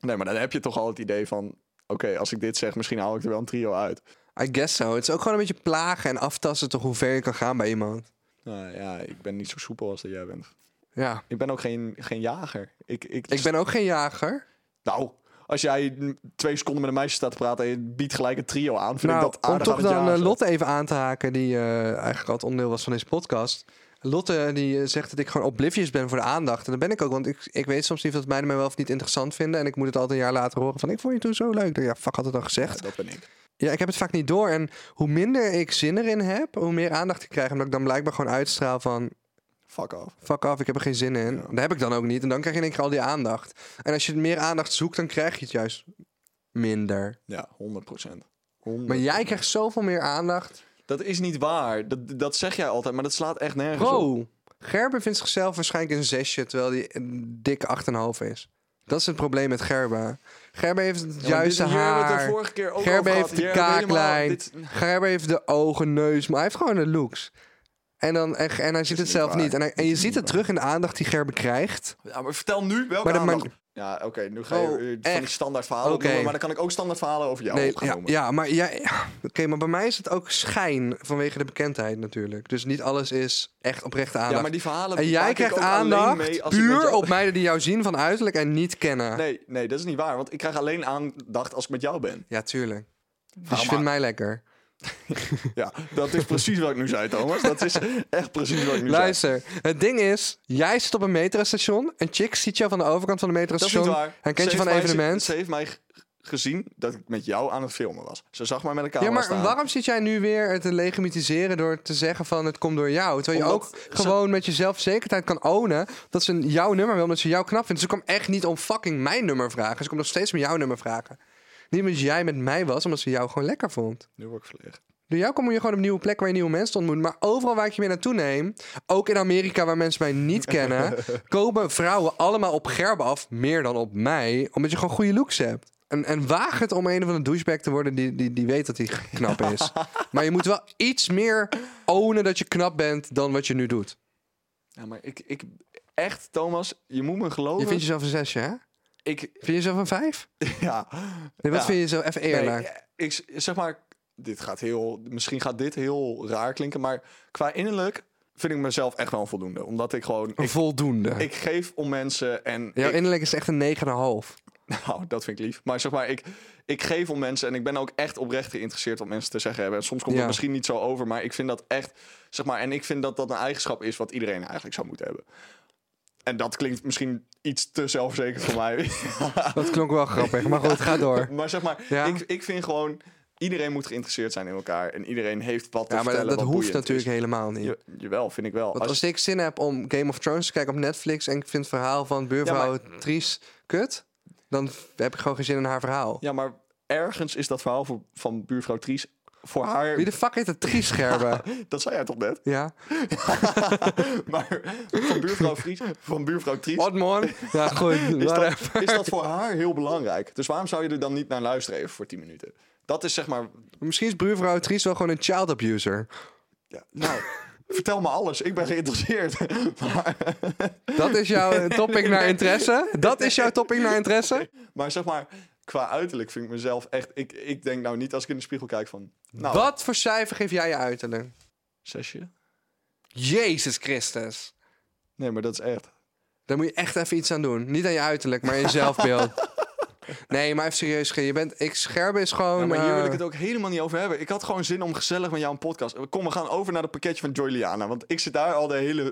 Nee, maar dan heb je toch al het idee van... Oké, als ik dit zeg, misschien haal ik er wel een trio uit.
I guess so. Het is ook gewoon een beetje plagen en aftasten toch hoe ver je kan gaan bij iemand.
Nou ja, ik ben niet zo soepel als dat jij bent.
Ja.
Ik ben ook geen, geen jager. Ik, ik,
Ik ben ook geen jager.
Nou, als jij mm, twee seconden met een meisje staat te praten... en je biedt gelijk een trio aan, vind
nou,
ik dat aardig
om toch
aan het
dan eh,
jagen.
Lotte even aan te haken, die eh, eigenlijk al het onderdeel was van deze podcast. Lotte die eh, zegt dat ik gewoon oblivious ben voor de aandacht. En dat ben ik ook, want ik, ik weet soms niet of mij mij wel of niet interessant vinden. En ik moet het altijd een jaar later horen van, ik vond je toen zo leuk. Ik denk, Ja, fuck, had het dan gezegd.
Dat ben ik.
Ja, ik heb het vaak niet door. En hoe minder ik zin erin heb, hoe meer aandacht ik krijg. Omdat ik dan blijkbaar gewoon uitstraal van...
Fuck off.
Fuck af, ik heb er geen zin in. Dat heb ik dan ook niet. En dan krijg je in één keer al die aandacht. En als je meer aandacht zoekt, dan krijg je het juist minder.
Ja, 100 procent.
Maar jij krijgt zoveel meer aandacht.
Dat is niet waar. Dat, dat zeg jij altijd, maar dat slaat echt nergens op.
Bro, Gerber vindt zichzelf waarschijnlijk een zesje, terwijl hij een dikke 8,5 is. Dat is het probleem met Gerber. Gerber heeft het juiste
Hier hebben we het de
haar.
vorige keer ook over
Gerber
gehad.
heeft de
Hier hebben we helemaal
kaaklijn.
dit-
Gerber heeft de ogen, neus, maar hij heeft gewoon de looks. En, dan, en, en hij ziet het
niet
zelf
waar.
niet. En, hij- en
Dit
je
is
ziet
niet
het terug in de aandacht die Gerber krijgt.
Ja, maar vertel nu welke
Maar dat
aandacht-
maakt-
Ja, oké, nu ga je
Oh,
eh, van die
echt?
standaard verhalen
Oké.
opnoemen, maar dan kan ik ook standaard verhalen over jou
Nee,
op gaan
ja,
noemen.
ja, maar, ja, ja. Oké, maar bij mij is het ook schijn vanwege de bekendheid natuurlijk. Dus niet alles is echt oprechte aandacht.
Ja, maar die verhalen
en
maak
jij
ik
krijgt
ook alleen
aandacht
mee als ik met
puur
jou-
op meiden die jou zien van uiterlijk en niet kennen.
Nee, nee, dat is niet waar, want ik krijg alleen aandacht als ik met jou ben.
Ja, tuurlijk. Dus
maar.
je vindt mij lekker.
Ja, dat is precies wat ik nu zei, Thomas. Dat is echt precies wat ik nu zei.
Luister, het ding is, jij zit op een metrostation. Een chick ziet jou van de overkant van de
Dat is niet
metrostation.
waar.
En
Ze
kent je van
heeft
een
mij-
evenement.
Ze, ze heeft mij g- gezien dat ik met jou aan het filmen was. Ze zag mij met een camera
Ja, maar
staan.
waarom zit jij nu weer het te legitimiseren door te zeggen van het komt door jou? Terwijl je
Omdat
ook
ze-
gewoon met je zelfzekerheid kan ownen dat ze jouw nummer wil, omdat ze jou knap vindt. Ze kwam echt niet om fucking mijn nummer vragen. Ze kwam nog steeds met jouw nummer vragen. Niet omdat jij met mij was, omdat ze jou gewoon lekker vond.
Nu word ik verlegen.
Door jou kom je gewoon op nieuwe plek waar je nieuwe mensen ontmoet. Maar overal waar ik je mee naartoe neem, ook in Amerika waar mensen mij niet kennen, komen vrouwen allemaal op Gerben af, meer dan op mij, omdat je gewoon goede looks hebt. En, en waag het om een of andere douchebag te worden die, die, die weet dat hij knap is. maar je moet wel iets meer ownen dat je knap bent dan wat je nu doet.
Ja, maar ik, ik... Echt, Thomas, je moet me
Je
geloven.
vindt jezelf een zesje, hè? Vind
Ik...
je jezelf een vijf?
Ja.
Nee, wat
Ja.
vind je jezelf? Even
Nee, eh,
eerlijk.
ik z- zeg maar... Dit gaat heel... Misschien gaat dit heel raar klinken, maar qua innerlijk vind ik mezelf echt wel voldoende. Omdat ik gewoon... Ik,
Voldoende.
ik geef om mensen en...
Oh, Jouw
ik-
innerlijk is echt een 9,5.
Nou, dat vind ik lief. Maar zeg maar, ik, ik geef om mensen en ik ben ook echt oprecht geïnteresseerd wat mensen te zeggen hebben. En soms komt
Ja.
het misschien niet zo over, maar ik vind dat echt, zeg maar, en ik vind dat dat een eigenschap is wat iedereen eigenlijk zou moeten hebben. En dat klinkt misschien iets te zelfverzekerd voor mij.
Dat klonk wel grappig, maar goed, ga door.
maar zeg maar,
Ja.
ik, ik vind gewoon, iedereen moet geïnteresseerd zijn in elkaar. En iedereen heeft wat te
Ja, maar dat,
vertellen.
dat
wat
hoeft
boeiend
natuurlijk
is.
helemaal niet.
Je, jawel, vind ik wel.
Want als ik zin heb om Game of Thrones te kijken op Netflix en ik vind het verhaal van buurvrouw Tries kut, dan f- heb ik gewoon geen zin in haar verhaal.
Ja, maar ergens is dat verhaal voor, van buurvrouw Tries voor haar...
Wie de fuck heet het Tries Gerben?
Dat zei jij toch net?
ja.
maar van buurvrouw, Fries, van buurvrouw Tries
What man? Ja, goed.
is, dat,
whatever.
is dat voor haar heel belangrijk. Dus waarom zou je er dan niet naar luisteren even voor 10 minuten? Dat is zeg maar...
Misschien is buurvrouw Tries wel gewoon een child abuser.
Ja, nou, vertel me alles. Ik ben geïnteresseerd. maar,
Dat is jouw eh, topic naar interesse? Dat is jouw topic naar interesse?
maar zeg maar, qua uiterlijk vind ik mezelf echt... Ik, ik denk nou niet als ik in de spiegel kijk van... Nou,
Wat voor cijfer geef jij je uiterlijk?
Zesje?
Jezus Christus.
Nee, maar dat is echt.
Daar moet je echt even iets aan doen. Niet aan je uiterlijk, maar aan je zelfbeeld. Nee, maar even serieus. Ge- Je bent, ik, Scherben is gewoon...
Ja, Nou, maar hier wil ik
eh,
het ook helemaal niet over hebben. Ik had gewoon zin om gezellig met jou een podcast. Kom, we gaan over naar het pakketje van Joyliana. Want ik zit daar al de hele,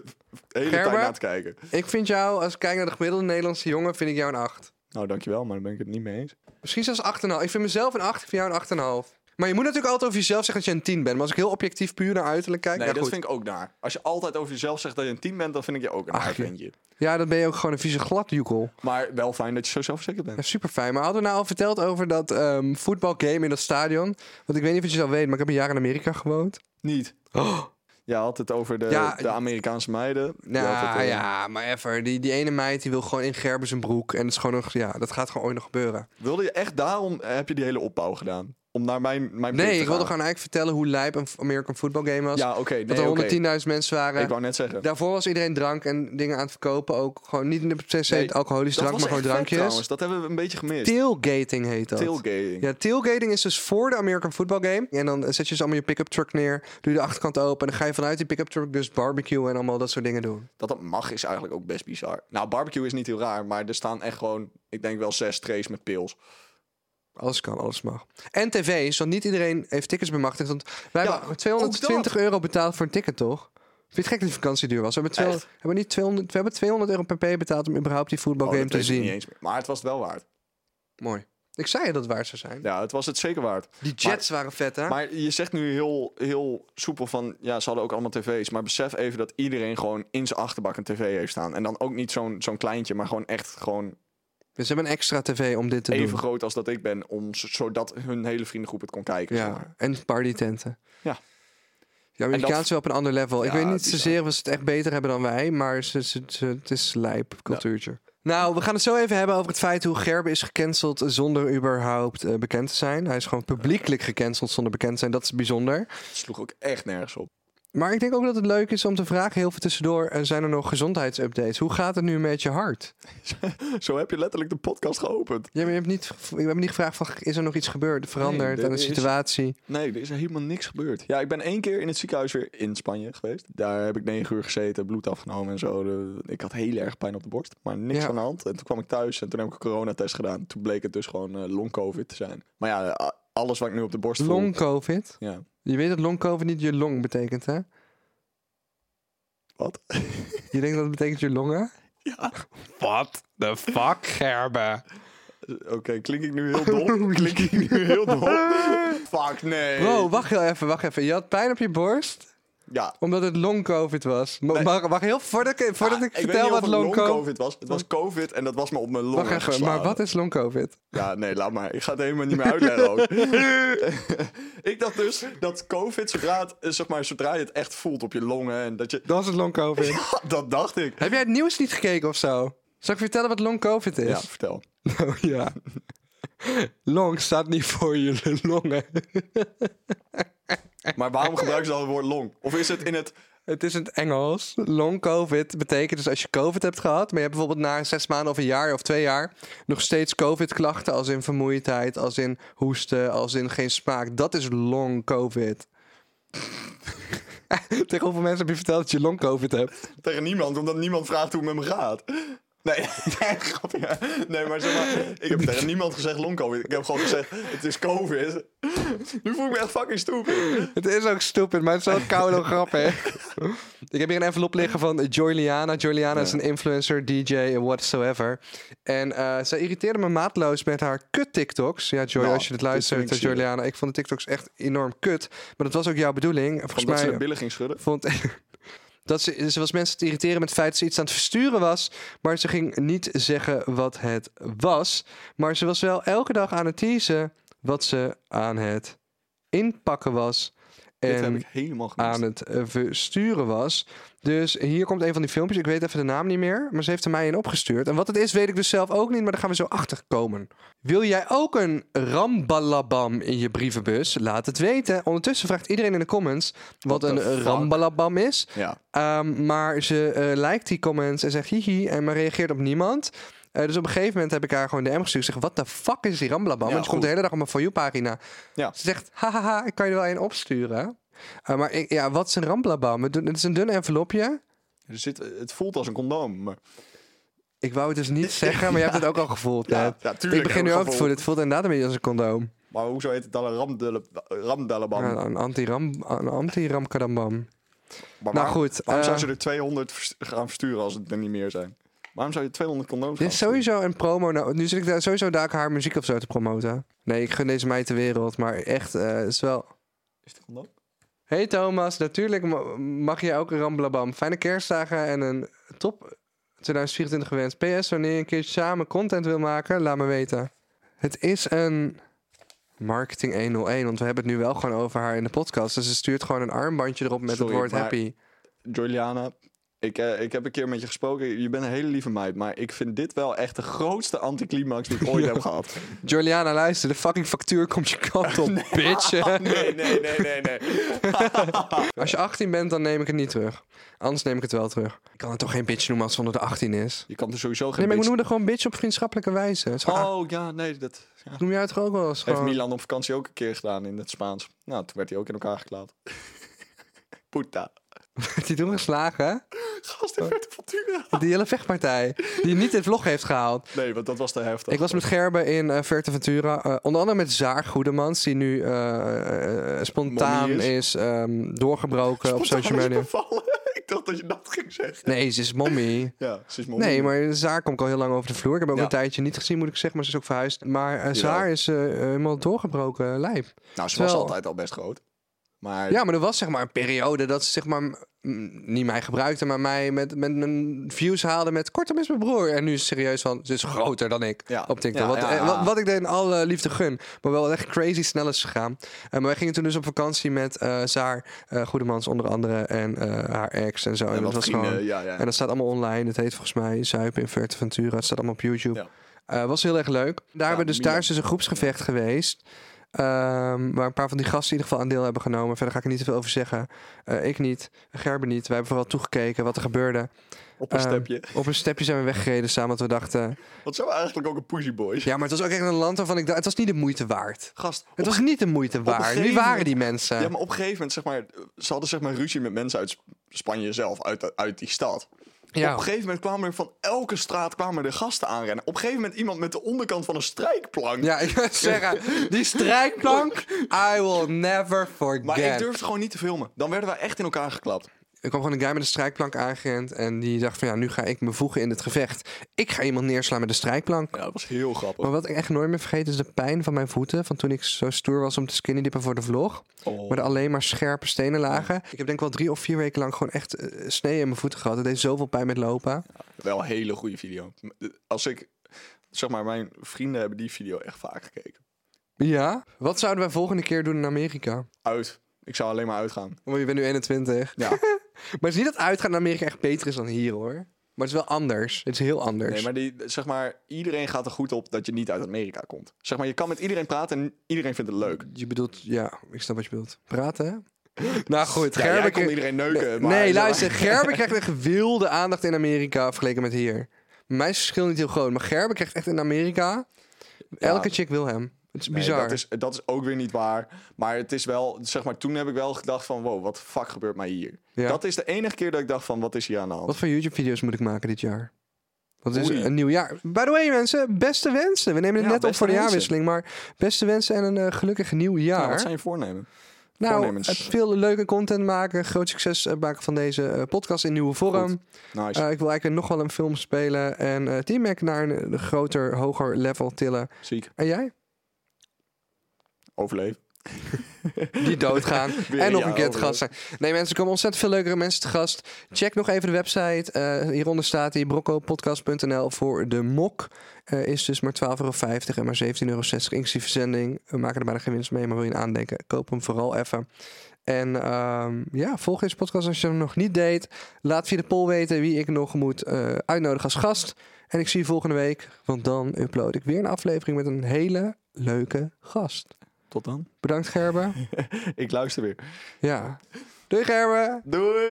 hele tijd
Gerber?
naar te kijken.
Ik vind jou, als ik kijk naar de gemiddelde Nederlandse jongen, vind ik jou een 8.
Nou, dankjewel, maar daar ben ik het niet mee eens.
Misschien zelfs 8,5. Ik vind mezelf een 8, ik vind jou een 8,5. Maar je moet natuurlijk altijd over jezelf zeggen dat je een 10 bent. Maar als ik heel objectief puur naar uiterlijk kijk...
Nee,
ja,
dat
goed.
vind ik ook naar. Als je altijd over jezelf zegt dat je een team bent, dan vind ik je ook een
Ach,
naar
je-
ventje.
ja, dan ben je ook gewoon een vieze gladjoekel.
Maar wel fijn dat je zo zelfverzekerd
Ja,
bent.
super fijn. Maar hadden we nou al verteld over dat ehm voetbalgame in dat stadion? Want ik weet niet of je het al weet, maar ik heb een jaar in Amerika gewoond.
Niet. Oh. Je had het over de,
Ja,
de Amerikaanse meiden. Je had het,
Nou
eh,
ja, maar even. Die, die ene meid die wil gewoon in Gerber zijn broek. En dat, is gewoon nog, ja, dat gaat gewoon ooit nog gebeuren.
Wilde je echt daarom, heb je die hele opbouw gedaan? Om naar mijn, mijn punt
Nee,
te
ik wilde
gaan.
gewoon eigenlijk vertellen hoe lijp een American football game was.
Ja, oké.
dat
nee,
er
oké.
110.000 mensen waren.
Ik wou net zeggen.
Daarvoor was iedereen drank en dingen aan het verkopen. Ook gewoon niet in de proces
Nee,
alcoholisch
Dat
drank,
was
dus maar gewoon
echt vet
drankjes.
trouwens. Dat hebben we een beetje gemist.
Tailgating heet dat.
Tailgating.
Ja, tailgating is dus voor de American Football Game. En dan zet je dus allemaal je pick-up truck neer. Doe je de achterkant open. En dan ga je vanuit die pick-up truck dus barbecue en allemaal dat soort dingen doen.
Dat dat mag is eigenlijk ook best bizar. Nou, barbecue is niet heel raar, maar er staan echt gewoon, ik denk wel zes trays met pils. Oh,
Alles kan, alles mag. En tv's, want niet iedereen heeft tickets bemachtigd. Want wij
Ja,
hebben 220 euro betaald voor een ticket, toch? Vind je het gek dat die vakantie duur was? We hebben, 200, hebben we niet 200, we hebben 200 euro per p betaald om überhaupt die
Oh,
voetbalgame
dat
te
weet ik niet
zien.
eens meer. Maar het was het wel waard.
Mooi. Ik zei je dat het waard zou zijn.
Ja, het was het zeker waard.
Die jets waren vet, hè?
Maar je zegt nu heel, heel soepel van, ja, ze hadden ook allemaal tv's. Maar besef even dat iedereen gewoon in zijn achterbak een tv heeft staan. En dan ook niet zo'n zo'n kleintje, maar gewoon echt gewoon
Dus ze hebben een extra tv om dit te
even
doen.
groot als dat ik ben. Om, z- zodat hun hele vriendengroep het kon kijken. zeg maar.
Ja, en partytenten.
Ja.
De Amerikaanse
dat-
wel op een ander level. ik
Ja,
weet niet
bizar.
zozeer of ze het echt beter hebben dan wij, maar ze, ze- ze- het is lijp cultuurtje. Nou, we gaan het zo even hebben over het feit hoe Gerben is gecanceld zonder überhaupt eh, bekend te zijn. Hij is gewoon publiekelijk gecanceld zonder bekend te zijn. Dat is bijzonder.
Het sloeg ook echt nergens op.
Maar ik denk ook dat het leuk is om te vragen, heel veel tussendoor, eh, zijn er nog gezondheidsupdates? Hoe gaat het nu met je hart?
Zo heb je letterlijk de podcast geopend.
Ja, maar je hebt niet, gev- je hebt niet gevraagd van, is er nog iets gebeurd, veranderd
dit
aan de
is-
situatie?
Nee, er is helemaal niks gebeurd. Ja, ik ben één keer in het ziekenhuis weer in Spanje geweest. Daar heb ik negen uur gezeten, bloed afgenomen en zo. De- Ik had heel erg pijn op de borst, maar niks
Ja.
aan de hand. En toen kwam ik thuis en toen heb ik een coronatest gedaan. Toen bleek het dus gewoon eh, long-covid te zijn. Maar ja, eh, a- alles wat ik nu op de borst voel...
Long COVID?
Ja.
Je weet dat long COVID niet je long betekent, hè?
Wat?
Je denkt dat het betekent je longen?
What the fuck, Gerben?
Oké, klink ik nu heel dom? klink ik nu heel dom? Fuck, nee.
Bro, wacht heel even, wacht even. Je had pijn op je borst,
Ja.
omdat het long COVID was. Ma-
Nee.
Wacht, wacht heel voordat ik, voordat
Ja,
Ah, ik
Ah, weet
vertel
niet
wat
of het
long COVID...
long-covid was. Het was covid en dat was me op mijn longen
Wacht even, maar
geslagen.
wat is long COVID?
Ja, nee, laat maar. Ik ga het helemaal niet meer uitleggen ook. ik dacht dus dat COVID, zodra, het, eh, zeg maar, zodra je het echt voelt op je longen en dat je...
Dat is het long COVID.
Dat dacht ik.
Heb jij het nieuws niet gekeken of zo? Zal ik vertellen wat long COVID
Ja,
is?
vertel.
Nou ja. Long staat niet voor je longen.
Maar waarom gebruiken ze dan het woord long? Of is het in het...
Het is in het Engels. Long COVID betekent dus als je COVID hebt gehad, maar je hebt bijvoorbeeld na zes maanden of een jaar of twee jaar nog steeds COVID-klachten, als in vermoeidheid, als in hoesten, als in geen smaak. Dat is long COVID. Tegen hoeveel mensen heb je verteld dat je long COVID hebt?
Tegen niemand, omdat niemand vraagt hoe het met me gaat. Nee, nee, grapje. Nee, maar zeg maar, ik heb tegen niemand gezegd long-covid. Ik heb gewoon gezegd, het is covid. Nu voel ik me echt fucking stupid.
Het is ook stupid, maar het is zo'n koude grap, hè? Ik heb hier een envelop liggen van Joyliana. Joyliana is een influencer, DJ en whatsoever. En eh, zij irriteerde me maatloos met haar kut-TikToks. Ja, Joy,
Nou,
als je dit
dit
luistert,
vind ik
eh, Joyliana, ik vond de TikToks echt enorm kut. Maar dat was ook jouw bedoeling. Volgens
Omdat ze de
mij
billen ging schudden.
vond. Dat ze, ze was mensen te irriteren met het feit dat ze iets aan het versturen was. Maar ze ging niet zeggen wat het was. Maar ze was wel elke dag aan het teasen wat ze aan het inpakken was.
Dit heb
En
ik helemaal gemist.
aan het eh, versturen was. Dus hier komt een van die filmpjes. Ik weet even de naam niet meer, maar ze heeft er mij in opgestuurd. En wat het is, weet ik dus zelf ook niet, maar daar gaan we zo achter komen. Wil jij ook een rambalabam in je brievenbus? Laat het weten. Ondertussen vraagt iedereen in de comments wat
What the
een
fuck?
rambalabam is.
Ja.
Ehm, maar ze eh liked die comments en zegt hihi en maar reageert op niemand. Eh, dus op een gegeven moment heb ik haar gewoon de DM gestuurd. Ik zeg, wat de fuck is die ramblabam?
Ja,
Want je komt de
goed.
hele dag op mijn For You-pagina.
Ja.
Ze zegt, hahaha, ik kan je er wel een opsturen. Eh, maar ik, ja, wat is een ramblabam? Het, doen- het is een dun envelopje.
Er zit, het voelt als een condoom, maar...
Ik wou het dus niet zeggen, maar je hebt het ook al gevoeld.
Ja,
Ned.
ja, tuurlijk
ik begin
heb
nu
ik
ook te
gevoeld.
voelen. Het voelt inderdaad een beetje als een condoom.
Maar hoezo heet het dan een ramdelle- ramdelleband?
Ja, een anti-ram, een anti-ramkadambam.
Maar
Nou
waarom-
goed,
Waarom zou
eh,
ze er 200 vers- gaan versturen als het er niet meer zijn? Waarom zou je 200 condooms
Dit
gaan
is
versturen?
sowieso een promo. Nou, nu zit ik daar sowieso daar haar muziek of zo te promoten. Nee, ik gun deze meid de wereld, maar echt, eh, het is wel...
Is het een condoom?
Hey Thomas, natuurlijk ma- mag je ook een ramblabam. Fijne kerstdagen en een top 2024 gewenst. PS, wanneer je een keer samen content wil maken, laat me weten. Het is een marketing 101, want we hebben het nu wel gewoon over haar in de podcast. Dus ze stuurt gewoon een armbandje erop met
Sorry,
het woord
maar-
happy.
Juliana, ik, eh, ik heb een keer met je gesproken. Je bent een hele lieve meid, maar ik vind dit wel echt de grootste anticlimax die ik ooit heb gehad.
Juliana, luister, de fucking factuur komt je kant op, bitch.
Nee, nee, nee, nee, nee.
Als je 18 bent, dan neem ik het niet terug. Anders neem ik het wel terug. Ik kan het toch geen bitch noemen als het onder de 18 is?
Je kan er sowieso
Nee,
geen
maar ik
bitch-
noem er gewoon bitch op vriendschappelijke wijze. Het is gewoon-
Oh, ja, nee, dat ja.
noem jij het toch ook wel eens
heeft
gewoon...
Milan op vakantie ook een keer gedaan in het Spaans. Nou, toen werd hij ook in elkaar geklapt. Puta.
Heeft hij toen geslagen, hè?
Gast, dit werd een Ventura.
Die hele vechtpartij. Die niet in vlog heeft gehaald.
Nee, want dat was te heftig.
Ik was met Gerben in eh Ventura. onder andere met Zaar Goedemans, die nu eh, eh, spontaan is,
Mommy is.
ehm, doorgebroken op
Spontaan
social
is
media.
bevallen. ik dacht dat je dat ging zeggen.
Nee, ze is mommy.
Ja, ze is mooi.
Nee, maar Zaar komt al heel lang over de vloer. Ik heb hem ook
Ja.
een tijdje niet gezien, moet ik zeggen, maar ze is ook verhuisd. Maar eh, Zaar is eh, helemaal doorgebroken lijp.
Nou, ze
terwijl-
was altijd al best groot. Maar
Ja, maar er was zeg maar een periode dat ze zeg maar mm, niet mij gebruikte, maar mij met, met mijn views haalde met kortom is mijn broer. En nu is het serieus van, ze is groter dan ik
Ja.
op TikTok.
Ja,
wat,
ja,
eh,
ja.
Wat, wat ik deed in alle liefde gun, maar wel echt crazy snel is gegaan. Eh, maar wij gingen toen dus op vakantie met eh Zaar, eh Goedemans onder andere en eh, haar ex en zo. En,
en
dat
wat
was
vrienden,
gewoon...
ja, ja.
En dat staat allemaal online. Het heet volgens mij Zuipen in Ventura. Het staat allemaal op YouTube.
Ja.
Eh, was heel erg leuk. Daar, hebben we dus, daar
Milan.
is dus een groepsgevecht geweest. ehm, waar een paar van die gasten in ieder geval aan deel hebben genomen. Verder ga ik er niet te veel over zeggen. Eh, ik niet, Gerben niet. Wij hebben vooral toegekeken wat er gebeurde.
op een
Ehm,
stepje.
Op een stepje zijn we weggereden samen, want we dachten...
Want zijn we eigenlijk ook een pushy boys.
Ja, maar het was ook echt een land waarvan ik dacht... Het was niet de moeite waard.
Gast,
Het was niet de moeite
een
waard. Wie
gegeven
waren
moment-
die mensen?
Ja, maar op een gegeven moment, zeg maar, ze hadden zeg maar ruzie met mensen uit Sp- Spanje zelf, uit, uit die stad.
Ja.
Op een gegeven moment kwamen er van elke straat kwamen er gasten aanrennen. Op een gegeven moment iemand met de onderkant van een strijkplank.
Ja, ik wil zeggen, die strijkplank, I will never forget.
Maar ik durfde gewoon niet te filmen. Dan werden wij echt in elkaar geklapt.
Er kwam gewoon een guy met een strijkplank aangerend. En die dacht van ja, nu ga ik me voegen in het gevecht. Ik ga iemand neerslaan met een strijkplank.
Ja, dat was heel grappig.
Maar wat ik echt nooit meer vergeet is de pijn van mijn voeten. Van toen ik zo stoer was om te skinny dippen voor de vlog.
Oh.
Waar er alleen maar scherpe stenen lagen. Ik heb denk ik wel drie of vier weken lang gewoon echt eh, sneeën in mijn voeten gehad. Het deed zoveel pijn met lopen.
Wel een hele goede video. Als ik, zeg maar, mijn vrienden hebben die video echt vaak gekeken.
Ja. Wat zouden wij volgende keer doen in Amerika?
Uit. Ik zou alleen maar uitgaan.
Want je bent nu 21.
Ja.
maar het is niet dat uitgaan naar Amerika echt beter is dan hier hoor. Maar het is wel anders. Het is heel anders.
Nee, maar, die, zeg maar iedereen gaat er goed op dat je niet uit Amerika komt. Zeg maar, je kan met iedereen praten en iedereen vindt het leuk.
Je bedoelt, ja, ik snap wat je bedoelt. Praten, hè? Nou goed,
Ja, jij
Gerben...
kon iedereen neuken.
Nee,
maar-
nee, luister. Gerben krijgt echt wilde aandacht in Amerika vergeleken met hier. Mij is het verschil niet heel groot, maar Gerben krijgt echt in Amerika... Elke chick wil hem. Het is
Nee,
bizar.
dat, is, dat is ook weer niet waar. Maar het is wel, zeg maar, toen heb ik wel gedacht van, wow, wat de fuck gebeurt mij hier?
Ja.
Dat is de enige keer dat ik dacht van, wat is hier aan de hand?
Wat voor YouTube-video's moet ik maken dit jaar? Wat is
Oei.
een nieuw jaar. By the way, mensen, beste wensen. We nemen het
Ja,
net op
beste
voor de
wensen.
jaarwisseling, maar beste wensen en een eh, gelukkig nieuw jaar.
Nou, wat zijn je voornemen?
Nou,
voornemens?
het veel leuke content maken, groot succes eh, maken van deze eh, podcast in nieuwe vorm.
Goed. Nice.
Eh, ik wil eigenlijk nog wel een film spelen en eh Team Mac naar een, een groter, hoger level tillen.
Ziek.
En jij?
Overleef.
Die doodgaan.
Weer
en nog
ja,
een keer te gast
overleef.
zijn. Nee mensen, er komen ontzettend veel leukere mensen te gast. Check nog even de website. Eh, hieronder staat die broccopodcast.nl voor de mok. Eh, is dus maar 12,50 euro en maar 17,60 euro inclusief verzending. We maken er bijna geen winst mee, maar wil je een aandenken? Koop hem vooral even. En ehm, ja, volg deze podcast als je hem nog niet deed. Laat via de poll weten wie ik nog moet eh, uitnodigen als gast. En ik zie je volgende week, want dan upload ik weer een aflevering met een hele leuke gast.
Tot dan.
Bedankt Gerben.
Ik luister weer.
Ja. Doei Gerben!
Doei!